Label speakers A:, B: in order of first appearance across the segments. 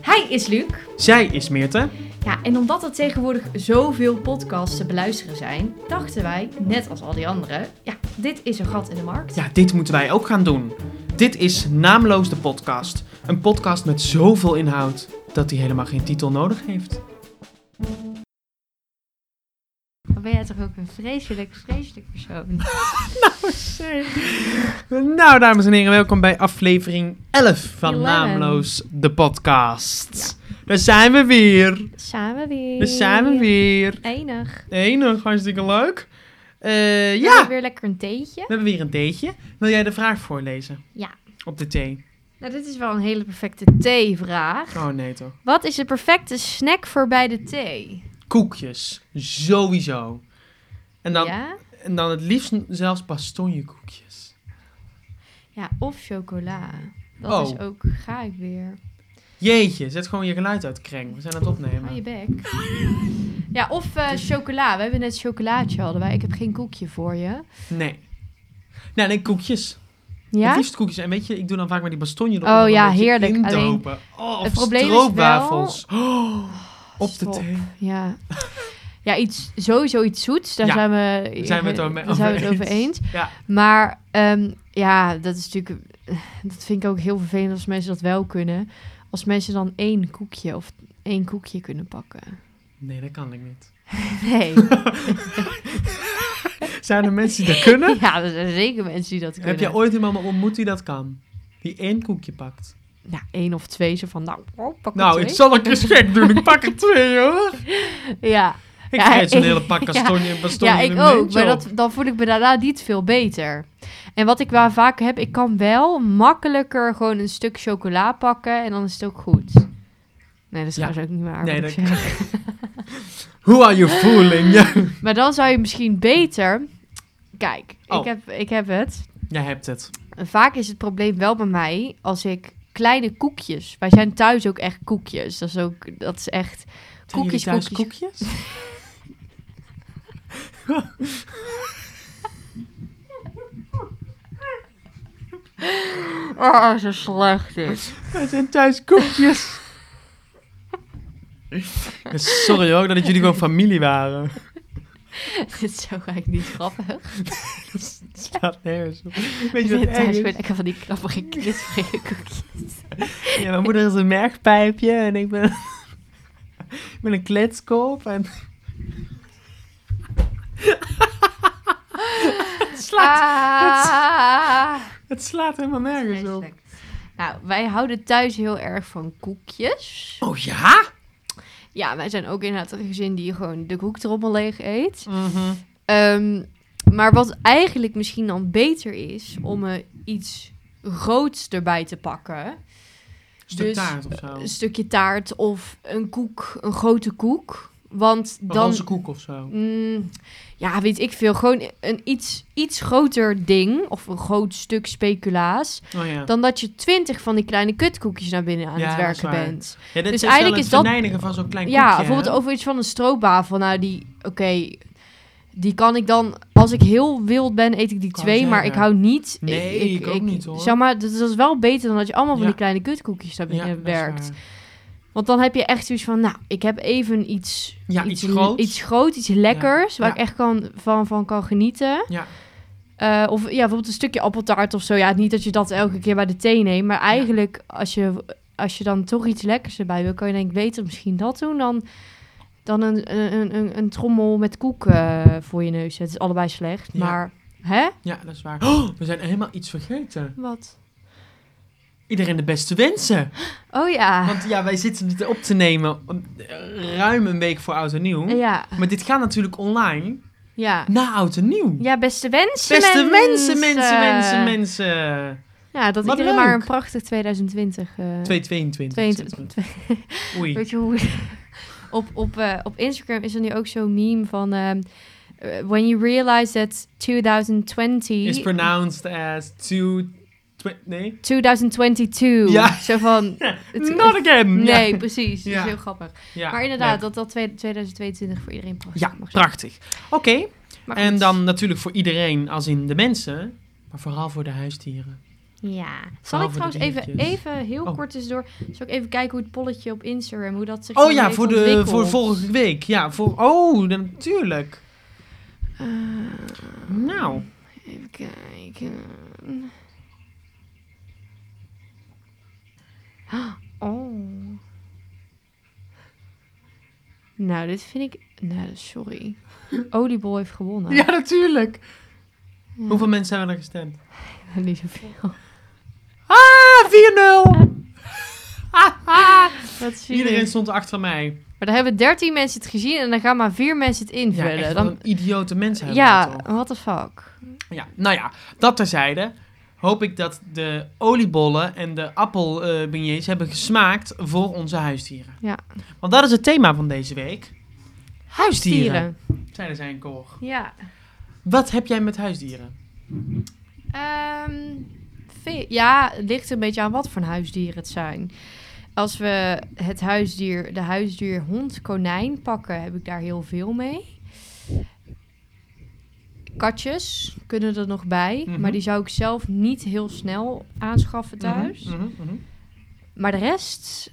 A: Hij is Luc.
B: Zij is Meerte.
A: Ja, en omdat er tegenwoordig zoveel podcasts te beluisteren zijn, dachten wij, net als al die anderen, ja, dit is een gat in de markt.
B: Ja, dit moeten wij ook gaan doen. Dit is Naamloos de Podcast. Een podcast met zoveel inhoud dat hij helemaal geen titel nodig heeft.
C: Dan ben jij toch ook een vreselijk, vreselijk persoon.
B: Nou, dames en heren, welkom bij aflevering 11 van
C: 11.
B: Naamloos de Podcast. Daar zijn we weer.
C: Samen weer.
B: Daar zijn we weer.
C: Enig.
B: Enig, hartstikke leuk. Eh,
C: We hebben
B: ja,
C: Weer lekker een theetje.
B: we hebben weer een theetje. Wil jij de vraag voorlezen?
C: Ja.
B: Op de thee.
C: Nou, dit is wel een hele perfecte thee-vraag.
B: Oh nee toch.
C: Wat is de perfecte snack voor bij de thee?
B: Koekjes. Sowieso. En dan,
C: Ja?
B: En dan het liefst n- zelfs bastonjekoekjes.
C: ja, of chocola. Dat
B: Oh.
C: is ook, ga ik weer.
B: Jeetje, zet gewoon je geluid uit, Kreng. We zijn aan het opnemen.
C: Hou Ah, je bek. Ja, of eh, chocola. We hebben net chocolaatje hadden wij. Ik heb geen koekje voor je.
B: Nee. Nee, nee, koekjes. Het
C: Ja?
B: liefst koekjes. En weet je, ik doe dan vaak maar die bastonje erop.
C: Oh
B: om dan
C: ja,
B: een beetje
C: heerlijk.
B: in te
C: Alleen,
B: hopen. Oh, of
C: het probleem is
B: stroopwafels. Oh, op de
C: Stop.
B: thee.
C: Ja. Ja, iets, sowieso iets zoets. Daar
B: Ja,
C: zijn we,
B: zijn we het over-
C: daar zijn we het
B: over
C: over eens.
B: Ja.
C: Maar ehm, ja, dat is natuurlijk. Dat vind ik ook heel vervelend als mensen dat wel kunnen. Als mensen dan één koekje of één koekje kunnen pakken.
B: Nee, dat kan ik niet.
C: Nee.
B: Zijn er mensen die dat kunnen?
C: ja, er zijn zeker mensen die dat kunnen.
B: Heb jij ooit iemand ontmoet die dat kan? Die één koekje pakt?
C: Nou, één of twee. Zo van, nou, oh, pak er
B: nou,
C: twee.
B: ik zal een keer gek doen. Ik pak er twee, hoor.
C: Ja,
B: Ik
C: Ja,
B: ja, zo'n
C: ik-
B: hele pak
C: ja.
B: bastonje, bastonje
C: ja
B: in
C: ik
B: een
C: ook.
B: mandje
C: Maar
B: op.
C: dat, dan voel ik me daarna niet veel beter. En wat ik wel vaak heb, ik kan wel makkelijker gewoon een stuk chocola pakken. En dan is het ook goed. Nee, dat is
B: Ja.
C: trouwens ook niet waar.
B: Nee,
C: wat ik
B: dat-
C: zeg.
B: Who are you fooling? Ja.
C: Maar dan zou je misschien beter. Kijk,
B: Oh.
C: ik, heb, ik heb het.
B: Jij hebt het.
C: Vaak is het probleem wel bij mij als ik kleine koekjes. Wij zijn thuis ook echt koekjes. Dat is ook dat is echt.
B: Zijn jullie
C: Koekjes,
B: thuis
C: koekjes.
B: koekjes?
C: Oh, zo slecht is.
B: Wij zijn thuis koekjes. Ja, Sorry hoor, dat jullie gewoon familie waren.
C: Dit is ook eigenlijk niet grappig.
B: Het staat nergens op. Weet
C: Ik
B: je wat
C: vind
B: erg
C: thuis
B: is?
C: gewoon lekker van die knappige knitterige koekjes.
B: Ja, mijn moeder is een mergpijpje en ik ben, ik ben een kletskop. En... het, slaat,
C: Ah,
B: het slaat helemaal nergens op.
C: vreselijk. Nou, wij houden thuis heel erg van koekjes.
B: Oh ja?
C: Ja, wij zijn ook inderdaad een gezin die gewoon de koektrommel leeg eet.
B: Mhm.
C: Ehm, maar wat eigenlijk misschien dan beter is om eh, iets groots erbij te pakken.
B: Stuk
C: Dus,
B: taart of zo.
C: Een stukje taart of een koek, een grote koek. Want
B: Een
C: dan.
B: roze koek of zo.
C: Mm, ja, weet ik veel. Gewoon een iets, iets groter ding of een groot stuk speculaas.
B: Oh ja.
C: Dan dat je twintig van die kleine kutkoekjes naar binnen aan
B: Ja,
C: het
B: dat is
C: werken
B: waar.
C: bent.
B: Ja, dit
C: Dus
B: is wel
C: eigenlijk
B: het
C: is dat-
B: verneinigen van zo'n klein
C: Ja,
B: koekje,
C: bijvoorbeeld
B: hè?
C: over iets van een stroopwafel. Nou, die, oké, die kan ik dan, als ik heel wild ben, eet ik die
B: Kan
C: twee, maar
B: zeggen.
C: ik hou niet.
B: Nee, ik ook niet, hoor.
C: Zeg maar, dat is, dat is wel beter dan dat je allemaal van
B: Ja.
C: die kleine kutkoekjes daar
B: Ja,
C: binnen
B: dat is
C: werkt.
B: waar.
C: Want dan heb je echt zoiets van, nou, ik heb even iets,
B: Ja, iets groots.
C: iets, groot, iets lekkers,
B: Ja.
C: waar
B: Ja.
C: ik echt kan, van, van kan genieten.
B: Ja.
C: Eh, of ja, bijvoorbeeld een stukje appeltaart of zo. Ja, niet dat je dat elke keer bij de thee neemt. Maar eigenlijk, als je, als je dan toch iets lekkers erbij wil, kan je denk ik beter misschien dat doen dan, dan een, een, een, een trommel met koek eh, voor je neus. Het is allebei slecht,
B: Ja.
C: maar... Hè?
B: ja, dat is waar. Oh, we zijn helemaal iets vergeten.
C: Wat?
B: Iedereen de beste wensen.
C: Oh ja.
B: Want ja, wij zitten dit op te nemen om- eh, ruim een week voor Oud en Nieuw.
C: Ja,
B: Maar dit gaat natuurlijk online
C: ja.
B: na Oud en Nieuw.
C: Ja, beste wensen,
B: Beste mensen, mensen, mensen, mensen.
C: Ja, dat
B: Wat
C: iedereen maar
B: leuk.
C: een prachtig 2020... eh
B: 222.
C: 22
B: Oei.
C: Weet je hoe... op, op, eh, op Instagram is er nu ook zo'n meme van... ehm, eh, when you realize that 2020...
B: Is pronounced as two... twe- nee?
C: 2022.
B: Ja.
C: Zo van... het-
B: Not again. Ja.
C: Nee, precies. Dat
B: Ja.
C: is heel grappig.
B: Ja,
C: maar inderdaad,
B: leuk.
C: dat dat twee- 2022 voor iedereen prachtig
B: Ja,
C: mag zijn.
B: prachtig. Oké,
C: Maar goed.
B: en dan natuurlijk voor iedereen als in de mensen. Maar vooral voor de huisdieren.
C: Ja. Zal ik
B: Behalve
C: trouwens
B: de
C: even,
B: dingetjes.
C: even heel
B: Oh.
C: kort eens door... Zal ik even kijken hoe het polletje op Instagram, hoe dat zich
B: Oh
C: dan
B: ja,
C: heeft
B: voor, de,
C: ontwikkeld.
B: voor vorige week. Ja, voor, oh, dan- natuurlijk.
C: Eh,
B: Nou,
C: even kijken. Oh. Nou, dit vind ik... Nou, sorry. Oliebol heeft gewonnen.
B: ja, natuurlijk.
C: Ja.
B: Hoeveel mensen hebben er gestemd?
C: Niet zoveel.
B: Ah, 4-0!
C: Dat zie
B: Ah. Iedereen stond achter mij.
C: Maar daar hebben 13 mensen het gezien en dan gaan maar vier mensen het
B: Ja,
C: invullen.
B: echt wel
C: dan,
B: een idiote mensen hebben dat
C: ja
B: toch?
C: what the fuck.
B: Ja, nou ja, dat terzijde. Hoop ik dat de oliebollen en de appelbeignets hebben gesmaakt voor onze huisdieren.
C: Ja.
B: Want dat is het thema van deze week. Huisdieren.
C: Stieren.
B: Zijn er zijn koor.
C: Ja.
B: Wat heb jij met huisdieren?
C: Ehm, ve- ja, het ligt een beetje aan wat voor een huisdier het zijn. Als we het huisdier, de huisdier hond, konijn pakken, heb ik daar heel veel mee. Katjes kunnen er nog bij,
B: Mhm.
C: maar die zou ik zelf niet heel snel aanschaffen thuis.
B: Mhm, mhm, mhm.
C: Maar de rest.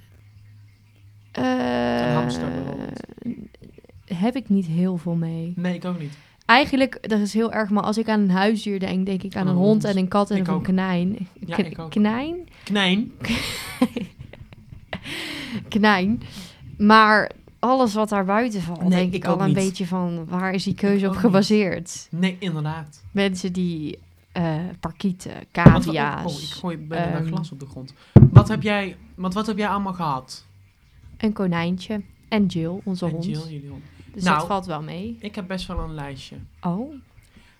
C: eh,
B: hamster bijvoorbeeld.
C: heb ik niet heel veel mee.
B: Nee, ik ook niet.
C: Eigenlijk, dat is heel erg, maar als ik aan een huisdier denk, denk ik aan een hond en een kat en
B: Oh, dus Ik
C: een
B: ook.
C: konijn.
B: Ja,
C: K-
B: ik ook.
C: Knijn?
B: Knijn.
C: Knijn. Maar alles wat daar buiten valt,
B: Nee,
C: denk ik,
B: ik
C: al
B: ook
C: een
B: niet.
C: beetje van waar is die keuze
B: ook
C: op
B: niet.
C: gebaseerd?
B: Nee, inderdaad.
C: Mensen die eh parkieten,
B: Wat voor-
C: cavia's.
B: oh, ik gooi bijna
C: ehm.
B: een glas op de grond. Wat heb jij, want wat heb jij allemaal gehad?
C: Een konijntje. En Jill, onze
B: En
C: hond.
B: Jill, jullie hond.
C: Dus
B: Nou.
C: dat valt wel mee.
B: Ik heb best wel een lijstje.
C: Oh.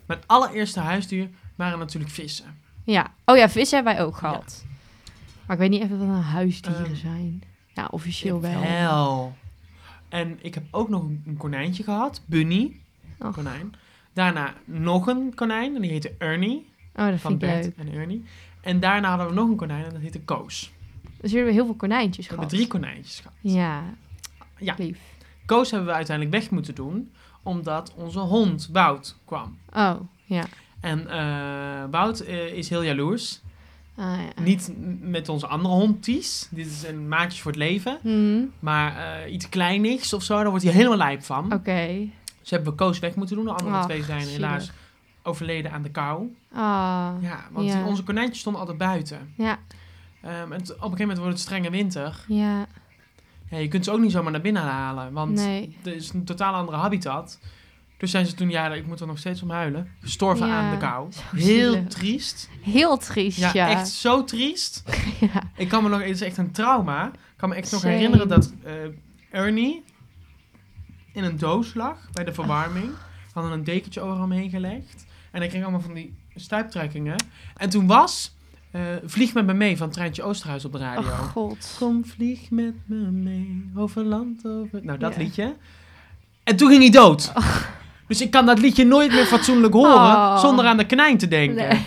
B: Mijn allereerste huisdier waren natuurlijk vissen.
C: Ja. Oh ja, vissen hebben wij ook gehad. Maar ik weet niet even wat een huisdieren
B: Ehm,
C: zijn. Ja, officieel wel.
B: Wel. En ik heb ook nog een konijntje gehad, Bunny,
C: Ach.
B: konijn. Daarna nog een konijn en die heette Ernie,
C: Oh, dat
B: van
C: vind ik
B: Bert
C: leuk.
B: en Ernie. En daarna hadden we nog een konijn en dat heette Koos.
C: Dus jullie hebben heel veel konijntjes
B: We hebben
C: gehad.
B: drie konijntjes gehad.
C: Ja.
B: Ja.
C: Lief.
B: Koos hebben we uiteindelijk weg moeten doen, omdat onze hond Wout kwam.
C: Oh, ja.
B: En eh, Wout eh, is heel jaloers.
C: Ah, ja.
B: Niet m- met onze andere hond, Ties. Dit is een maatje voor het leven.
C: Hmm,
B: Maar eh, iets kleinigs of zo, daar wordt hij helemaal lijp van.
C: Oké.
B: Ze hebben we Koos weg moeten doen. De andere
C: Ach,
B: twee zijn
C: zielig.
B: helaas overleden aan de kou.
C: Ah. Ja.
B: Ja, want
C: Ja.
B: onze konijntjes stonden altijd buiten.
C: Ja.
B: Ehm, en t- op een gegeven moment wordt het strenge winter. Ja, je kunt ze ook niet zomaar naar binnen halen, want
C: Nee.
B: er is een totaal andere habitat. Dus zijn ze toen, ja, ik moet er nog steeds om huilen, gestorven
C: Ja,
B: aan de kou.
C: zo
B: Heel
C: zielig.
B: triest.
C: Heel triest,
B: Ja,
C: ja.
B: echt zo triest.
C: Ja.
B: Ik kan me nog, het is echt een trauma. Ik kan me echt nog
C: Same.
B: herinneren dat eh, Ernie in een doos lag bij de verwarming. We hadden een dekentje over hem heen gelegd. En ik kreeg allemaal van die stuiptrekkingen. En toen was eh, Vlieg met me mee van Treintje Oosterhuis op de radio.
C: Oh, god.
B: Kom, vlieg met me mee over land over... Nou, dat
C: Ja.
B: liedje. En toen ging hij dood. Dus ik kan dat liedje nooit meer fatsoenlijk horen
C: Oh.
B: zonder aan de knijn te denken.
C: Nee.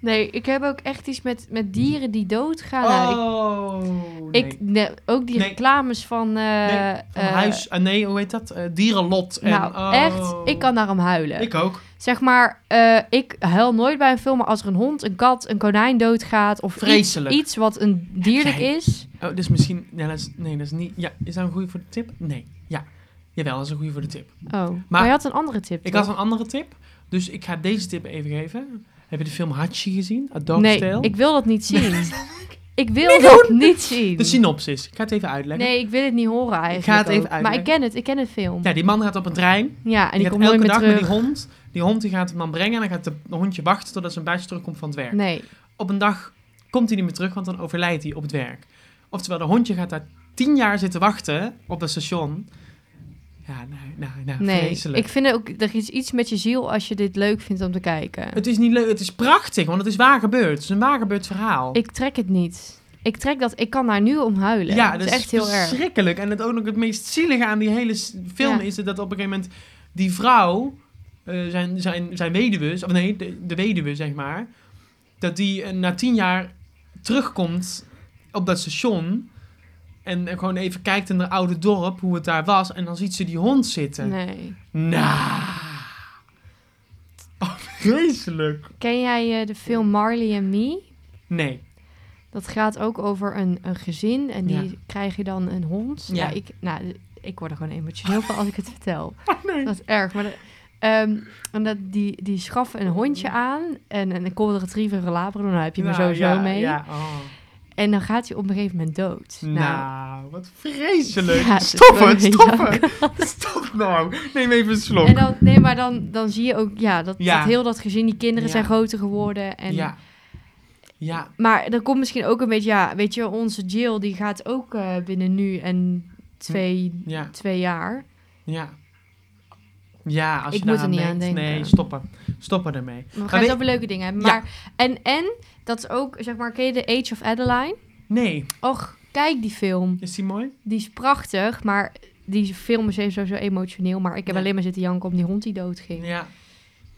C: nee, ik heb ook echt iets met, met dieren die doodgaan. Nou, ik-
B: Oh, nee.
C: Ik, nee, ook die
B: Nee.
C: reclames van... eh,
B: Van
C: eh,
B: huis, ah, nee, hoe heet dat? Eh, dierenlot. En,
C: Nou,
B: oh.
C: echt, ik kan naar hem huilen.
B: Ik ook.
C: Zeg maar, eh, ik huil nooit bij een film, maar als er een hond, een kat, een konijn doodgaat... of iets,
B: Vreselijk.
C: iets wat een dierlijk
B: jij-
C: is...
B: Oh, dus misschien... Nee dat, is, nee, dat is niet... Ja, is dat een goede voor de tip? Nee. Ja. Jawel, dat is een goede voor de tip.
C: Oh, maar, je had een andere tip,
B: Ik
C: toch?
B: had een andere tip. Dus ik ga deze tip even geven. Heb je de film Hachi gezien? A Dog's
C: Nee,
B: Tale?
C: ik wil dat niet zien. ik wil dat niet zien.
B: De synopsis. Ik ga het even uitleggen.
C: Nee, ik wil het niet horen eigenlijk.
B: ga het even
C: ook. Maar
B: uitleggen.
C: ik ken het, ik ken het film. Ja,
B: Ja, die man gaat op een trein.
C: en die
B: gaat
C: komt nooit
B: elke
C: meer
B: dag
C: terug.
B: met die hond. Die hond die gaat hem dan brengen. En dan gaat de hondje wachten totdat zijn baasje terugkomt van het werk.
C: Nee,
B: Op een dag komt hij niet meer terug, want dan overlijdt hij op het werk. Oftewel, de hondje gaat daar tien jaar zitten wachten op het station. Ja, nou, nou, nou
C: nee.
B: vreselijk.
C: Ik vind het ook, er is iets met je ziel als je dit leuk vindt om te kijken.
B: Het is niet leuk, het is prachtig, want het is waar gebeurd. Het is een waar gebeurd verhaal.
C: Ik trek het niet. Ik trek dat, ik kan daar nu om huilen.
B: ja,
C: dat
B: dat
C: is echt heel erg.
B: verschrikkelijk. En het ook nog het meest zielige aan die hele s- film
C: Ja.
B: is dat op een gegeven moment die vrouw, eh, zijn, zijn, zijn weduwe, of nee, de, de weduwe zeg maar, dat die eh, na tien jaar terugkomt op dat station en eh, gewoon even kijkt in haar oude dorp hoe het daar Nou. was en dan ziet ze die hond zitten.
C: Nee.
B: Nou. Oh, vreselijk.
C: Ken jij eh, de film Marley and Me?
B: Nee.
C: Dat gaat ook over een, een gezin en die
B: Ja.
C: krijgen dan een hond. Ja.
B: Ja.
C: ik, nou, ik word er gewoon emotioneel van als ik het vertel.
B: nee.
C: Dat is erg. Maar de- ehm, en dat, die, die schaffen een hondje aan en een golden retriever een labrador, nou heb je me
B: Nou,
C: sowieso
B: ja,
C: mee.
B: Ja. Oh.
C: En dan gaat hij op een gegeven moment dood.
B: Nou, wat vreselijk.
C: Ja, het is
B: stop
C: wel
B: het,
C: een
B: stop het. Stop nou. Neem even een slok.
C: En dan, nee, maar dan, dan zie je ook, ja, dat,
B: Ja.
C: dat heel dat gezin, die kinderen
B: Ja.
C: zijn groter geworden. En,
B: ja. Ja.
C: Maar dan komt misschien ook een beetje, ja, weet je, onze Jill, die gaat ook eh, binnen nu en twee,
B: Ja.
C: twee jaar.
B: Ja. Ja, als
C: Ik
B: je
C: moet er
B: daaraan
C: niet aan
B: denkt.
C: denken.
B: Nee, stoppen. Stoppen ermee.
C: We gaan
B: Maar
C: het
B: weet-
C: over leuke dingen hebben.
B: Ja.
C: Maar, en, en, dat is ook, zeg maar, ken je de Age of Adeline?
B: Nee.
C: Och, kijk die film.
B: Is die mooi?
C: Die is prachtig, maar die film is even sowieso emotioneel. Maar ik heb
B: Ja.
C: alleen maar zitten janken om die hond die doodging.
B: Ja.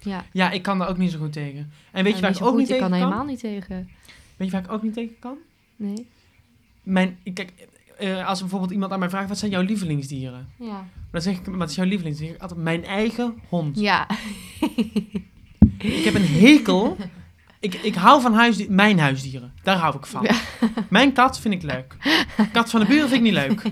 C: Ja.
B: Ja, ik kan daar ook niet zo goed tegen. En weet
C: Nou,
B: je
C: niet
B: waar ik
C: zo
B: ook
C: goed,
B: niet
C: ik
B: tegen
C: kan
B: kan?
C: er helemaal niet tegen.
B: Weet je waar ik ook niet tegen kan?
C: Nee.
B: Mijn, kijk, eh, als bijvoorbeeld iemand aan mij vraagt, wat zijn jouw lievelingsdieren?
C: Ja.
B: Dan zeg ik, wat is jouw lievelingsdier? Ik Altijd mijn eigen hond.
C: Ja.
B: Ik heb een hekel. Ik, ik hou van huisdieren. Mijn huisdieren. Daar hou ik van. Mijn kat vind ik leuk. Kat van de buren vind ik niet leuk.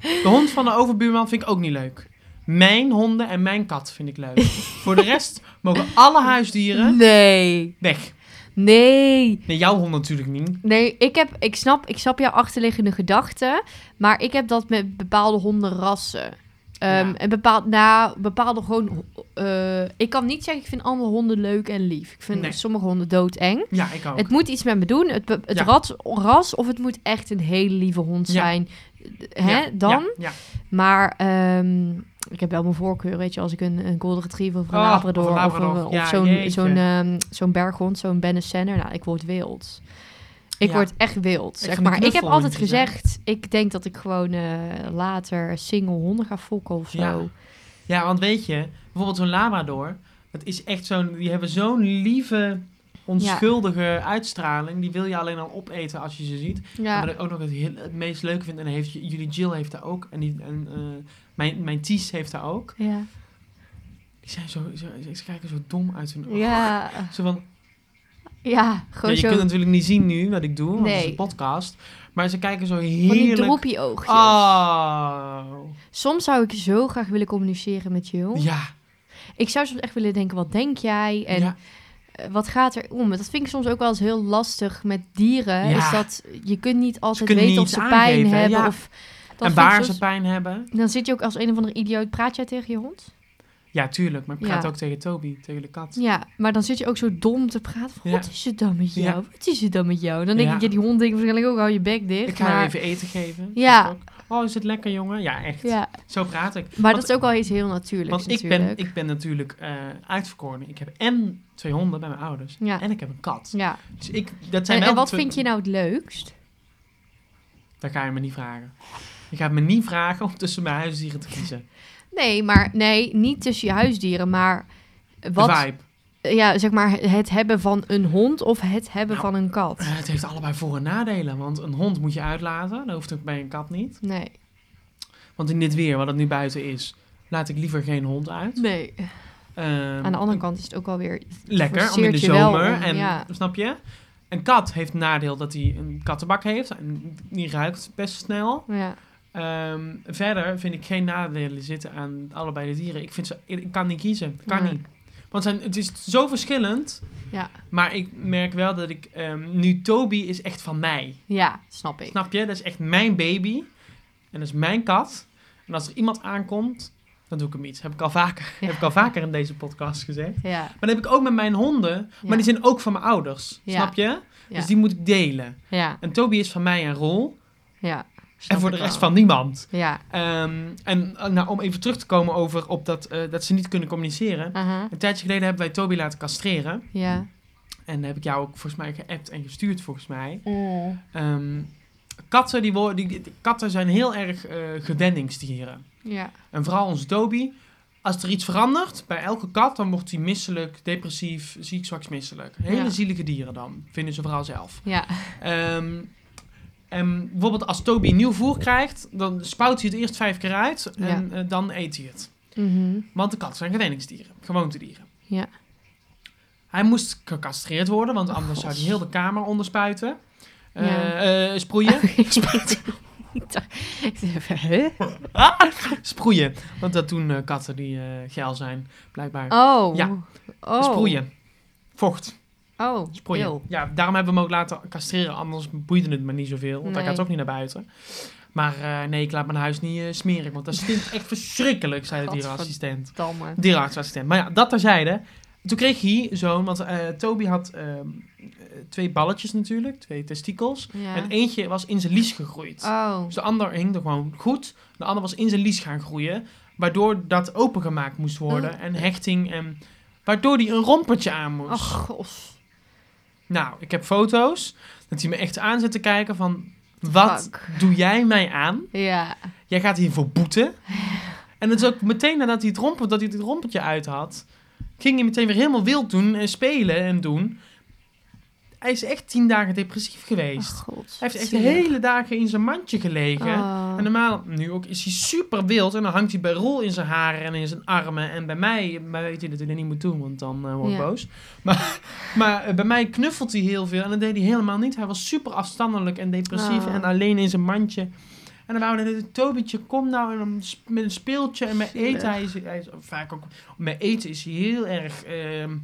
B: De hond van de overbuurman vind ik ook niet leuk. Mijn honden en mijn kat vind ik leuk. Voor de rest mogen alle huisdieren
C: Nee.
B: weg.
C: Nee.
B: Nee, jouw hond natuurlijk niet.
C: Nee, ik, heb, ik, snap, ik snap jouw achterliggende gedachten. Maar ik heb dat met bepaalde hondenrassen. Ehm,
B: Ja.
C: En bepaald, na bepaalde gewoon... eh, ik kan niet zeggen, ik vind andere honden leuk en lief. Ik vind
B: Nee.
C: sommige honden doodeng.
B: Ja, ik ook.
C: Het moet iets met me doen. Het, be- het
B: Ja.
C: rat- ras of het moet echt een hele lieve hond
B: Ja.
C: zijn. eh, Hè,
B: Ja,
C: dan.
B: Ja, ja.
C: Maar ehm, ik heb wel mijn voorkeur, weet je. Als ik een, een golden retriever of een
B: Oh,
C: labrador of,
B: of een
C: een- eh,
B: labrador.
C: of
B: Ja,
C: zo'n
B: jeetje.
C: zo'n ehm, zo'n berghond, zo'n Benesenner. Nou, ik word wild. Ik
B: Ja.
C: word echt wild, zeg
B: vind die
C: maar. Ik heb altijd
B: knuffelhondjes, hè?
C: gezegd, ik denk dat ik gewoon eh, later single honden ga fokken of zo.
B: Ja. Ja, want weet je, bijvoorbeeld zo'n labrador, dat is echt zo'n, die hebben zo'n lieve, onschuldige uitstraling. Die wil je alleen al opeten als je ze ziet. Maar
C: Ja.
B: wat ik ook nog het, heel- het meest leuke vind, en dan heeft, jullie Jill heeft daar ook, en, die, en eh, mijn, mijn Ties heeft daar ook.
C: Ja.
B: Die zijn zo, zo- ze kijken zo dom uit hun ogen.
C: Ja.
B: Zo van,
C: Ja,
B: ja,
C: gewoon
B: je kunt
C: zo
B: natuurlijk niet zien nu wat ik doe, want het is
C: Nee.
B: een podcast. Maar ze kijken zo
C: van die
B: heerlijk. Ah,
C: droepie oogjes.
B: Oh.
C: Soms zou ik zo graag willen communiceren met Jill.
B: Ja.
C: Ik zou soms echt willen denken, wat denk jij? En
B: ja.
C: eh, wat gaat er om? Dat vind ik soms ook wel eens heel lastig met dieren.
B: Ja.
C: Is dat je kunt niet altijd
B: kunnen
C: weten of
B: niet
C: ze
B: aangeven,
C: pijn
B: hè?
C: hebben.
B: Ja.
C: Of, dat
B: En
C: vind ik
B: waar
C: soms-
B: ze pijn hebben.
C: Dan zit je ook als een of andere idioot. Praat jij tegen je hond?
B: Ja, tuurlijk. Maar ik
C: Ja.
B: praat ook tegen Toby, tegen de kat.
C: Ja, maar dan zit je ook zo dom te praten. Van,
B: Ja.
C: Wat is het dan met jou?
B: Ja.
C: Wat is het dan met jou? Dan denk
B: Ja.
C: ik, ja, die hond denkt waarschijnlijk ook, hou je bek dicht.
B: Ik ga
C: maar,
B: hem even eten geven.
C: Ja.
B: Dat is ook- Oh, is het lekker, jongen? Ja, echt.
C: Ja,
B: Zo praat ik.
C: maar
B: Want-
C: dat is ook wel iets heel natuurlijks
B: Want ik ben,
C: natuurlijk.
B: ik ben natuurlijk eh uitverkoren. Ik heb en twee honden bij mijn ouders.
C: Ja.
B: En ik heb een kat.
C: Ja.
B: Dus ik, dat zijn
C: En,
B: wel
C: en wat
B: twee-
C: vind je nou het leukst?
B: Dat ga je me niet vragen. Je gaat me niet vragen om tussen mijn huisdieren te kiezen.
C: Nee, maar nee, niet tussen je huisdieren, maar
B: Wat?
C: wat,
B: De vibe.
C: ja, zeg maar het hebben van een hond of het hebben
B: Nou,
C: van een kat.
B: Eh, het heeft allebei voor- en nadelen. Want een hond moet je uitlaten. Dat hoeft ook bij een kat niet.
C: Nee.
B: Want in dit weer, wat het nu buiten is, laat ik liever geen hond uit.
C: Nee.
B: Ehm,
C: Aan de andere kant is het ook wel weer.
B: lekker om in
C: forceert
B: de
C: je wel
B: zomer.
C: om,
B: en,
C: ja.
B: Snap je? Een kat heeft nadeel dat hij een kattenbak heeft. En die ruikt best snel.
C: Ja.
B: Ehm, verder vind ik geen nadelen zitten aan allebei de dieren. Ik, vind ze, ik ik kan niet kiezen. Ik kan
C: Nee.
B: niet. Want zijn, het is zo verschillend.
C: Ja.
B: Maar ik merk wel dat ik... ehm, nu, Toby is echt van mij.
C: ja, snap ik.
B: Snap je? Dat is echt mijn baby. En dat is mijn kat. En als er iemand aankomt, dan doe ik hem iets. Heb ik al vaker,
C: Ja.
B: heb ik al vaker in deze podcast gezegd.
C: Ja,
B: Maar dat heb ik ook met mijn honden. Maar
C: Ja.
B: die zijn ook van mijn ouders.
C: Ja.
B: Snap je?
C: Ja.
B: Dus die moet ik delen.
C: ja,
B: En Toby is van mij een rol.
C: ja.
B: En
C: snap
B: voor de
C: ik
B: rest
C: wel.
B: van niemand.
C: Ja.
B: Ehm, en eh, nou, om even terug te komen over op dat, eh, dat ze niet kunnen communiceren.
C: Aha.
B: Een tijdje geleden hebben wij Toby laten castreren.
C: Ja.
B: En daar heb ik jou ook volgens mij geappt en gestuurd volgens mij. Ehm, katten, die wo- die, die- katten zijn heel erg eh gewenningsdieren.
C: Ja.
B: En vooral onze Toby. Als er iets verandert bij elke kat, dan wordt hij misselijk, depressief, ziek, zwak, misselijk. Hele
C: Ja.
B: zielige dieren dan, vinden ze vooral zelf.
C: Ja.
B: Ehm, en bijvoorbeeld als Toby nieuw voer krijgt, dan spuit hij het eerst vijf keer uit en
C: Ja.
B: eh, dan eet hij het.
C: Mhm.
B: Want de katten zijn gewenningsdieren, gewoontedieren.
C: Ja.
B: Hij moest gecastreerd worden, want anders zou hij heel de kamer onderspuiten. Eh
C: Oh, Ja.
B: eh, sproeien.
C: Huh?
B: sproeien. Want dat doen eh, katten die eh, geil zijn, blijkbaar.
C: Oh.
B: Ja.
C: Oh.
B: Sproeien. Vocht.
C: Oh.
B: Sproeien.
C: eeuw.
B: Ja, daarom hebben we hem ook laten castreren. Anders boeide het me niet zoveel. Want hij
C: Nee.
B: gaat ook niet naar buiten. Maar eh, nee, ik laat mijn huis niet eh, smerig. Want dat stinkt echt verschrikkelijk, zei de
C: Gadver-
B: dierenassistent.
C: Damme.
B: Dierenartsassistent. Maar ja, dat terzijde. Toen kreeg hij zo'n, want eh, Toby had ehm, eh, twee balletjes natuurlijk, twee testikels.
C: Ja.
B: En eentje was in zijn lies gegroeid.
C: Oh.
B: Dus de ander hing er gewoon goed. De ander was in zijn lies gaan groeien. Waardoor dat opengemaakt moest worden.
C: Oh.
B: En hechting. En, waardoor hij een rompertje aan moest.
C: Ach, god.
B: Nou, ik heb foto's. Dat hij me echt aan zit te kijken van... Wat
C: Fuck.
B: doe jij mij aan?
C: Ja.
B: Jij gaat hiervoor boeten. En het is ook meteen nadat hij het, rompen, dat hij het rompertje uit had... ging hij meteen weer helemaal wild doen en spelen en doen. Hij is echt tien dagen depressief geweest.
C: Ach, Oh, god.
B: hij heeft echt
C: Zielig.
B: hele dagen in zijn mandje gelegen.
C: Oh.
B: En normaal, nu ook, is hij super wild. En dan hangt hij bij Roel in zijn haren en in zijn armen. En bij mij, maar weet je dat hij dat niet moet doen, want dan eh, word ik
C: Ja.
B: boos. Maar, maar eh, bij mij knuffelt hij heel veel. En dat deed hij helemaal niet. Hij was super afstandelijk en depressief
C: Ah.
B: en alleen in zijn mandje. En dan wouden we net, Tobietje, kom nou en dan sp- met een speeltje. En met
C: Zielig.
B: eten, hij is, hij is vaak ook, met eten is hij heel erg ehm,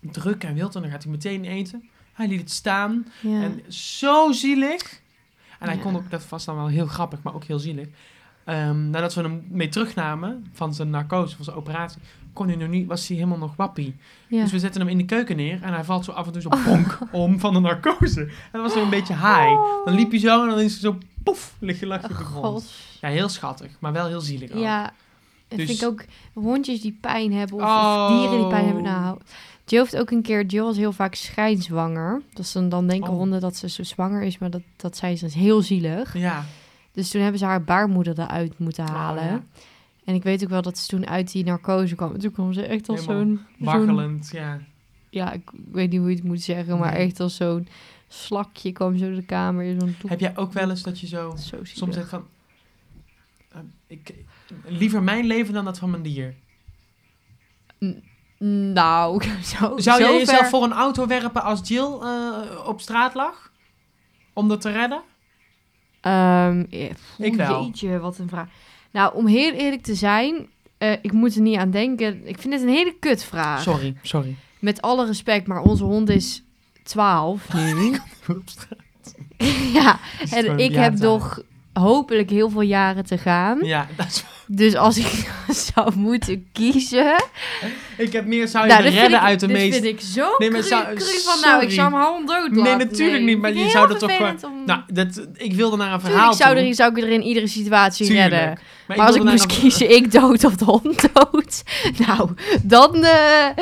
B: druk en wild. En dan gaat hij meteen eten. Hij liet het staan.
C: Ja.
B: En zo zielig. En hij
C: Ja.
B: kon ook, dat was dan wel heel grappig, maar ook heel zielig. Ehm, nadat we hem mee terugnamen van zijn narcose, van zijn operatie, kon hij nog niet, was hij helemaal nog wappie.
C: ja. Oh.
B: Dus we zetten hem in de keuken neer en hij valt zo af en toe zo bonk om van de narcose. En dan was hij een beetje high. Dan liep hij zo en dan is hij zo poef, lig je lachje op de grond.
C: Oh, god.
B: Ja, heel schattig, maar wel heel zielig ook.
C: Ja, ik
B: Dus-
C: vind ook hondjes die pijn hebben of, of
B: Oh.
C: dieren die pijn hebben. Nou, Jill heeft ook een keer, Jill was heel vaak schijnzwanger. Dat ze dan, dan denken
B: Oh.
C: honden dat ze zo zwanger is, maar dat, dat zijn ze heel zielig.
B: Ja.
C: Dus toen hebben ze haar baarmoeder eruit moeten halen.
B: Oh, ja.
C: En ik weet ook wel dat ze toen uit die narcose kwam. En Toen kwam ze echt als
B: Helemaal
C: zo'n... zo'n-
B: Waggelend, ja.
C: Ja, ik weet niet hoe je het moet zeggen, maar
B: Nee.
C: echt als zo'n slakje kwam zo de kamer in. Zo'n doek.
B: Heb jij ook wel eens dat je zo
C: Zo zielig.
B: soms zegt van... eh, ik, liever mijn leven dan dat van mijn dier.
C: Nou, zo,
B: Zou jij
C: zover-
B: jezelf voor een auto werpen als Jill eh, op straat lag? Om dat te redden?
C: Ehm, eh,
B: Ik wel.
C: Jeetje, wat een vraag. Nou, om heel eerlijk te zijn, eh, ik moet er niet aan denken. Ik vind het een hele kutvraag.
B: Sorry, sorry.
C: Met alle respect, maar onze hond is 12 nu. ja, en ik heb nog hopelijk heel veel jaren te gaan.
B: Ja, dat is-
C: Dus als ik zou moeten kiezen...
B: ik heb meer zou je
C: Nou,
B: me
C: dit vind
B: redden
C: ik-
B: uit de
C: dit
B: meest...
C: vind ik zo
B: Nee,
C: nee,
B: maar zou-
C: van, nou, ik
B: sorry.
C: zou hem hand dood
B: Nee,
C: laten.
B: natuurlijk niet, maar
C: vind
B: je
C: ik
B: zou
C: heel
B: dat toch
C: vervelend om-
B: Nou, dat, ik wilde naar een
C: Tuurlijk
B: verhaal
C: zou,
B: toe.
C: er, zou ik er in iedere situatie
B: Tuurlijk.
C: redden.
B: Maar,
C: Maar als ik
B: wilde
C: moest
B: naar een-
C: kiezen, ik dood of de hond dood. Nou, dan. eh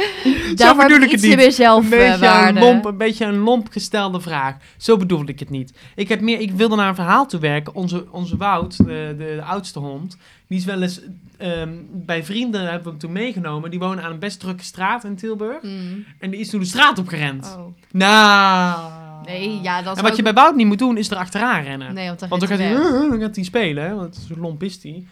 C: daarvoor
B: bedoel
C: heb
B: ik
C: ik
B: het
C: iets in
B: niet.
C: mezelf
B: Een beetje een,
C: eh, waarde.
B: lomp, een beetje een lomp gestelde vraag. Zo bedoelde ik het niet. Ik, heb meer, ik wilde naar een verhaal toe werken. Onze, onze Wout, de, de, de oudste hond, die is wel eens ehm, bij vrienden, hebben we hem toen meegenomen. Die wonen aan een best drukke straat in Tilburg.
C: Mm.
B: En die is toen de straat opgerend.
C: Oh.
B: Nou.
C: Nee, ja, dat
B: En wat je bij Wout niet moet doen, is er achteraan rennen.
C: Nee, want dan,
B: Want dan
C: gaat
B: gaat
C: hij
B: hij,
C: weg.
B: "Uh, uh," dan gaat hij spelen, hè, want zo lomp is hij.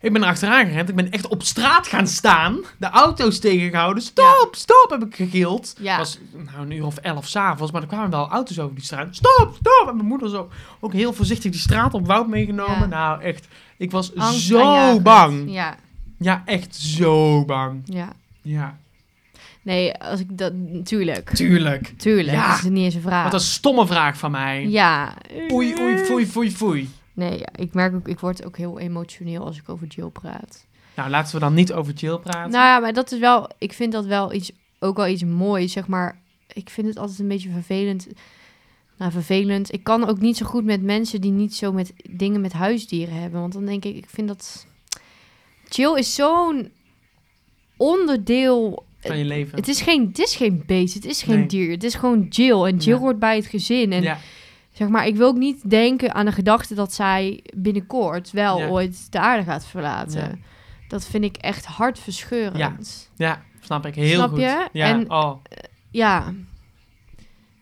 B: Ik ben er achteraan gerend. Ik ben echt op straat gaan staan. De auto's tegengehouden. Stop, stop, heb ik gegild. Het
C: Ja.
B: was nou, een uur of elf s'avonds, maar er kwamen wel auto's over die straat. Stop, stop. En mijn moeder zo ook heel voorzichtig die straat op Wout meegenomen.
C: Ja.
B: Nou, echt. Ik was
C: Angst
B: zo
C: aanjagend.
B: bang. Ja.
C: Ja,
B: echt zo bang.
C: ja.
B: Ja,
C: Nee, als ik dat. Tuurlijk.
B: tuurlijk.
C: Tuurlijk.
B: Ja.
C: Dat is niet eens een vraag.
B: Wat een stomme vraag van mij.
C: Ja.
B: Oei, oei, foei, foei, foei.
C: Nee, ja, ik merk ook, ik word ook heel emotioneel als ik over Jill praat.
B: Nou, laten we dan niet over Jill praten.
C: Nou ja, maar dat is wel. Ik vind dat wel iets, ook wel iets moois, zeg maar. Ik vind het altijd een beetje vervelend. Nou, vervelend. Ik kan ook niet zo goed met mensen die niet zo met dingen met huisdieren hebben. Want dan denk ik, ik vind dat. Chill is zo'n onderdeel.
B: van je leven.
C: Het is, geen, het is geen beest, het is geen
B: Nee.
C: dier. Het is gewoon Jill. En Jill
B: Ja.
C: hoort bij het gezin. En
B: ja.
C: zeg maar, ik wil ook niet denken aan de gedachte dat zij binnenkort wel
B: Ja.
C: ooit de aarde gaat verlaten.
B: Ja.
C: Dat vind ik echt hartverscheurend.
B: Ja, snap ik heel
C: Snap
B: goed.
C: je?
B: Ja,
C: En-
B: oh.
C: ja,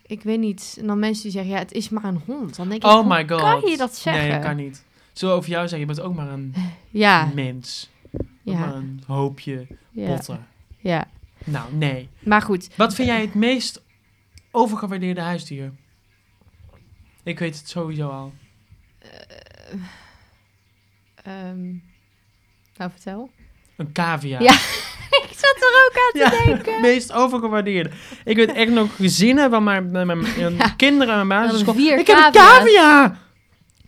C: ik weet niet. En dan mensen die zeggen, ja, het is maar een hond. Dan denk ik,
B: oh
C: hoe
B: my god.
C: kan je dat zeggen?
B: Nee, kan Mm, niet. Zullen we over jou zeggen, je bent ook maar een
C: Ja,
B: mens. Ook
C: ja,
B: maar een hoopje
C: ja,
B: potten.
C: ja.
B: Nou, nee.
C: Maar goed,
B: Wat vind jij het meest overgewaardeerde huisdier? Ik weet het sowieso al.
C: ehm, nou vertel.
B: Een cavia.
C: Ja. Ik zat er ook aan te denken.
B: het meest overgewaardeerde. Ik weet echt nog gezinnen van mijn, mijn, mijn- mijn
C: Ja.
B: kinderen en mijn
C: hadden
B: basisschool.
C: vier
B: Ik heb een
C: cavia's.
B: cavia!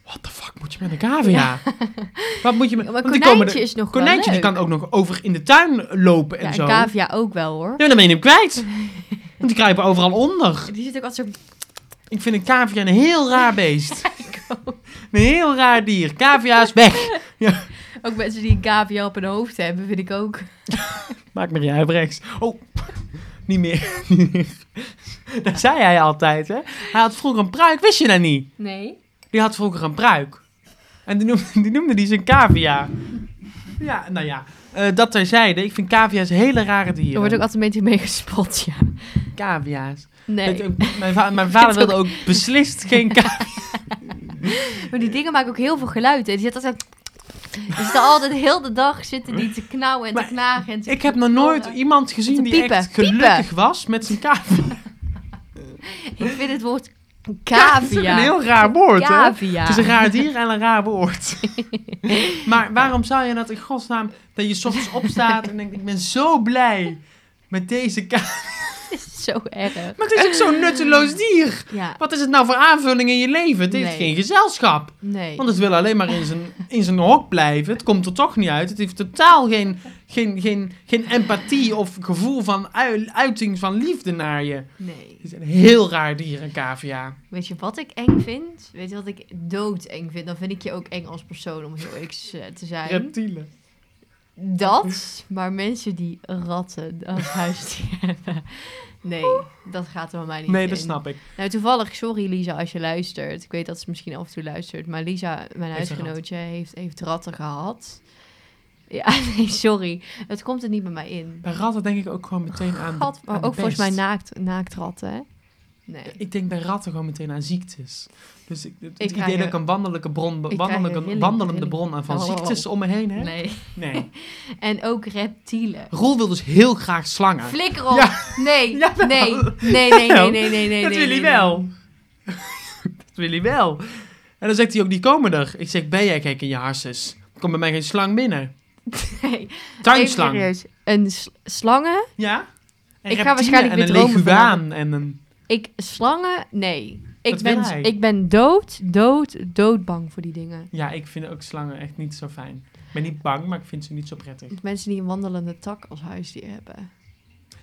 B: What the fuck moet je met een cavia? Wat moet je met...
C: Maar
B: want die komen
C: konijntje
B: er-
C: is nog
B: konijntje
C: wel
B: die
C: leuk.
B: kan ook nog over in de tuin lopen en
C: ja,
B: zo.
C: en cavia ook wel hoor.
B: Ja, maar dan ben je hem kwijt. Want die kruipen overal onder.
C: Die zit ook als soort...
B: Ik vind een cavia een heel raar beest. Een heel raar dier. Cavia is weg.
C: Ook mensen die een cavia op hun hoofd hebben, vind ik ook.
B: Maak me niet uit, rechts. Oh, niet meer. niet meer. Dat zei hij altijd, hè? Hij had vroeger een pruik, wist je dat niet?
C: Nee?
B: Die had vroeger een pruik. En die noemde die, noemde die zijn cavia. Ja, nou ja. Eh, dat terzijde. Ik vind cavia's hele rare dieren.
C: Er wordt ook altijd een beetje mee gespot, ja.
B: Cavia's.
C: Nee.
B: Het- eh, Mijn, va- mijn vader wilde ook beslist geen cavia.
C: Maar die dingen maken ook heel veel geluid. Hè. Die zitten altijd... Die zitten altijd heel de dag zitten die te knauwen en te
B: Maar
C: knagen. En te-
B: Ik heb nog nooit iemand gezien die
C: piepen,
B: echt gelukkig was met zijn cavia.
C: Ik vind het woord
B: Ja, dat is ook een
C: cavia.
B: heel raar woord, hè?
C: Cavia.
B: Het is een raar dier en een raar woord. maar waarom zou je dat in godsnaam... dat je 's ochtends opstaat en denkt... ik ben zo blij met deze cavia.
C: Zo erg.
B: Maar het is ook zo'n nutteloos dier.
C: Ja,
B: Wat is het nou voor aanvulling in je leven? Het heeft
C: Nee.
B: geen gezelschap.
C: nee.
B: Want het wil alleen maar in zijn, in zijn hok blijven. Het komt er toch niet uit. Het heeft totaal geen, geen, geen, geen empathie of gevoel van ui- uiting van liefde naar je.
C: Nee.
B: Het is een heel raar dier, een cavia.
C: Weet je wat ik eng vind? Weet je wat ik doodeng vind? Dan vind ik je ook eng als persoon, om heel eerlijk eh, te zijn.
B: Reptielen.
C: Dat, maar mensen die ratten als huisdier hebben. Nee, dat gaat er bij mij niet
B: Nee,
C: in.
B: dat snap ik.
C: Nou, toevallig, sorry Lisa als je luistert. Ik weet dat ze misschien af en toe luistert. Maar Lisa, mijn
B: Heeft een
C: huisgenootje, heeft, heeft ratten gehad. Ja, nee, sorry. Het komt er niet bij mij in.
B: Bij ratten denk ik ook gewoon meteen aan.
C: Gat, maar
B: aan
C: ook
B: de
C: volgens mij
B: pest.
C: naakt, naaktratten, hè? Nee.
B: Ik denk bij ratten gewoon meteen aan ziektes. Dus ik, het
C: Ik krijg
B: idee dat
C: er-
B: ik een wandelende bron,
C: krijg
B: wandelende,
C: er rilling-
B: wandelende
C: rilling.
B: bron aan van
C: Oh, oh, oh.
B: ziektes om me heen heb.
C: Nee.
B: Nee.
C: En ook reptielen.
B: Roel wil dus heel graag slangen.
C: Flikker op!
B: Ja.
C: Nee,
B: Ja, wel.
C: nee, nee, nee, nee, nee, nee, nee, nee.
B: dat wil
C: nee,
B: hij wel. dat wil hij wel. En dan zegt hij ook, die komen er. Ik zeg, ben jij gek in je harses? Er komt bij mij geen slang binnen.
C: Nee. Even
B: Tuinslang.
C: serieus. Een s- slangen?
B: Ja? En
C: Ik ga
B: reptielen
C: waarschijnlijk
B: en
C: weer
B: een
C: dromen
B: leguaan en een...
C: Ik, slangen? Nee. Ik
B: Dat
C: ben,
B: wil hij.
C: ik ben dood, dood, dood bang voor die dingen.
B: Ja, ik vind ook slangen echt niet zo fijn. Ik ben niet bang, maar ik vind ze niet zo prettig. Maar
C: Mensen die een wandelende tak als huisdier hebben.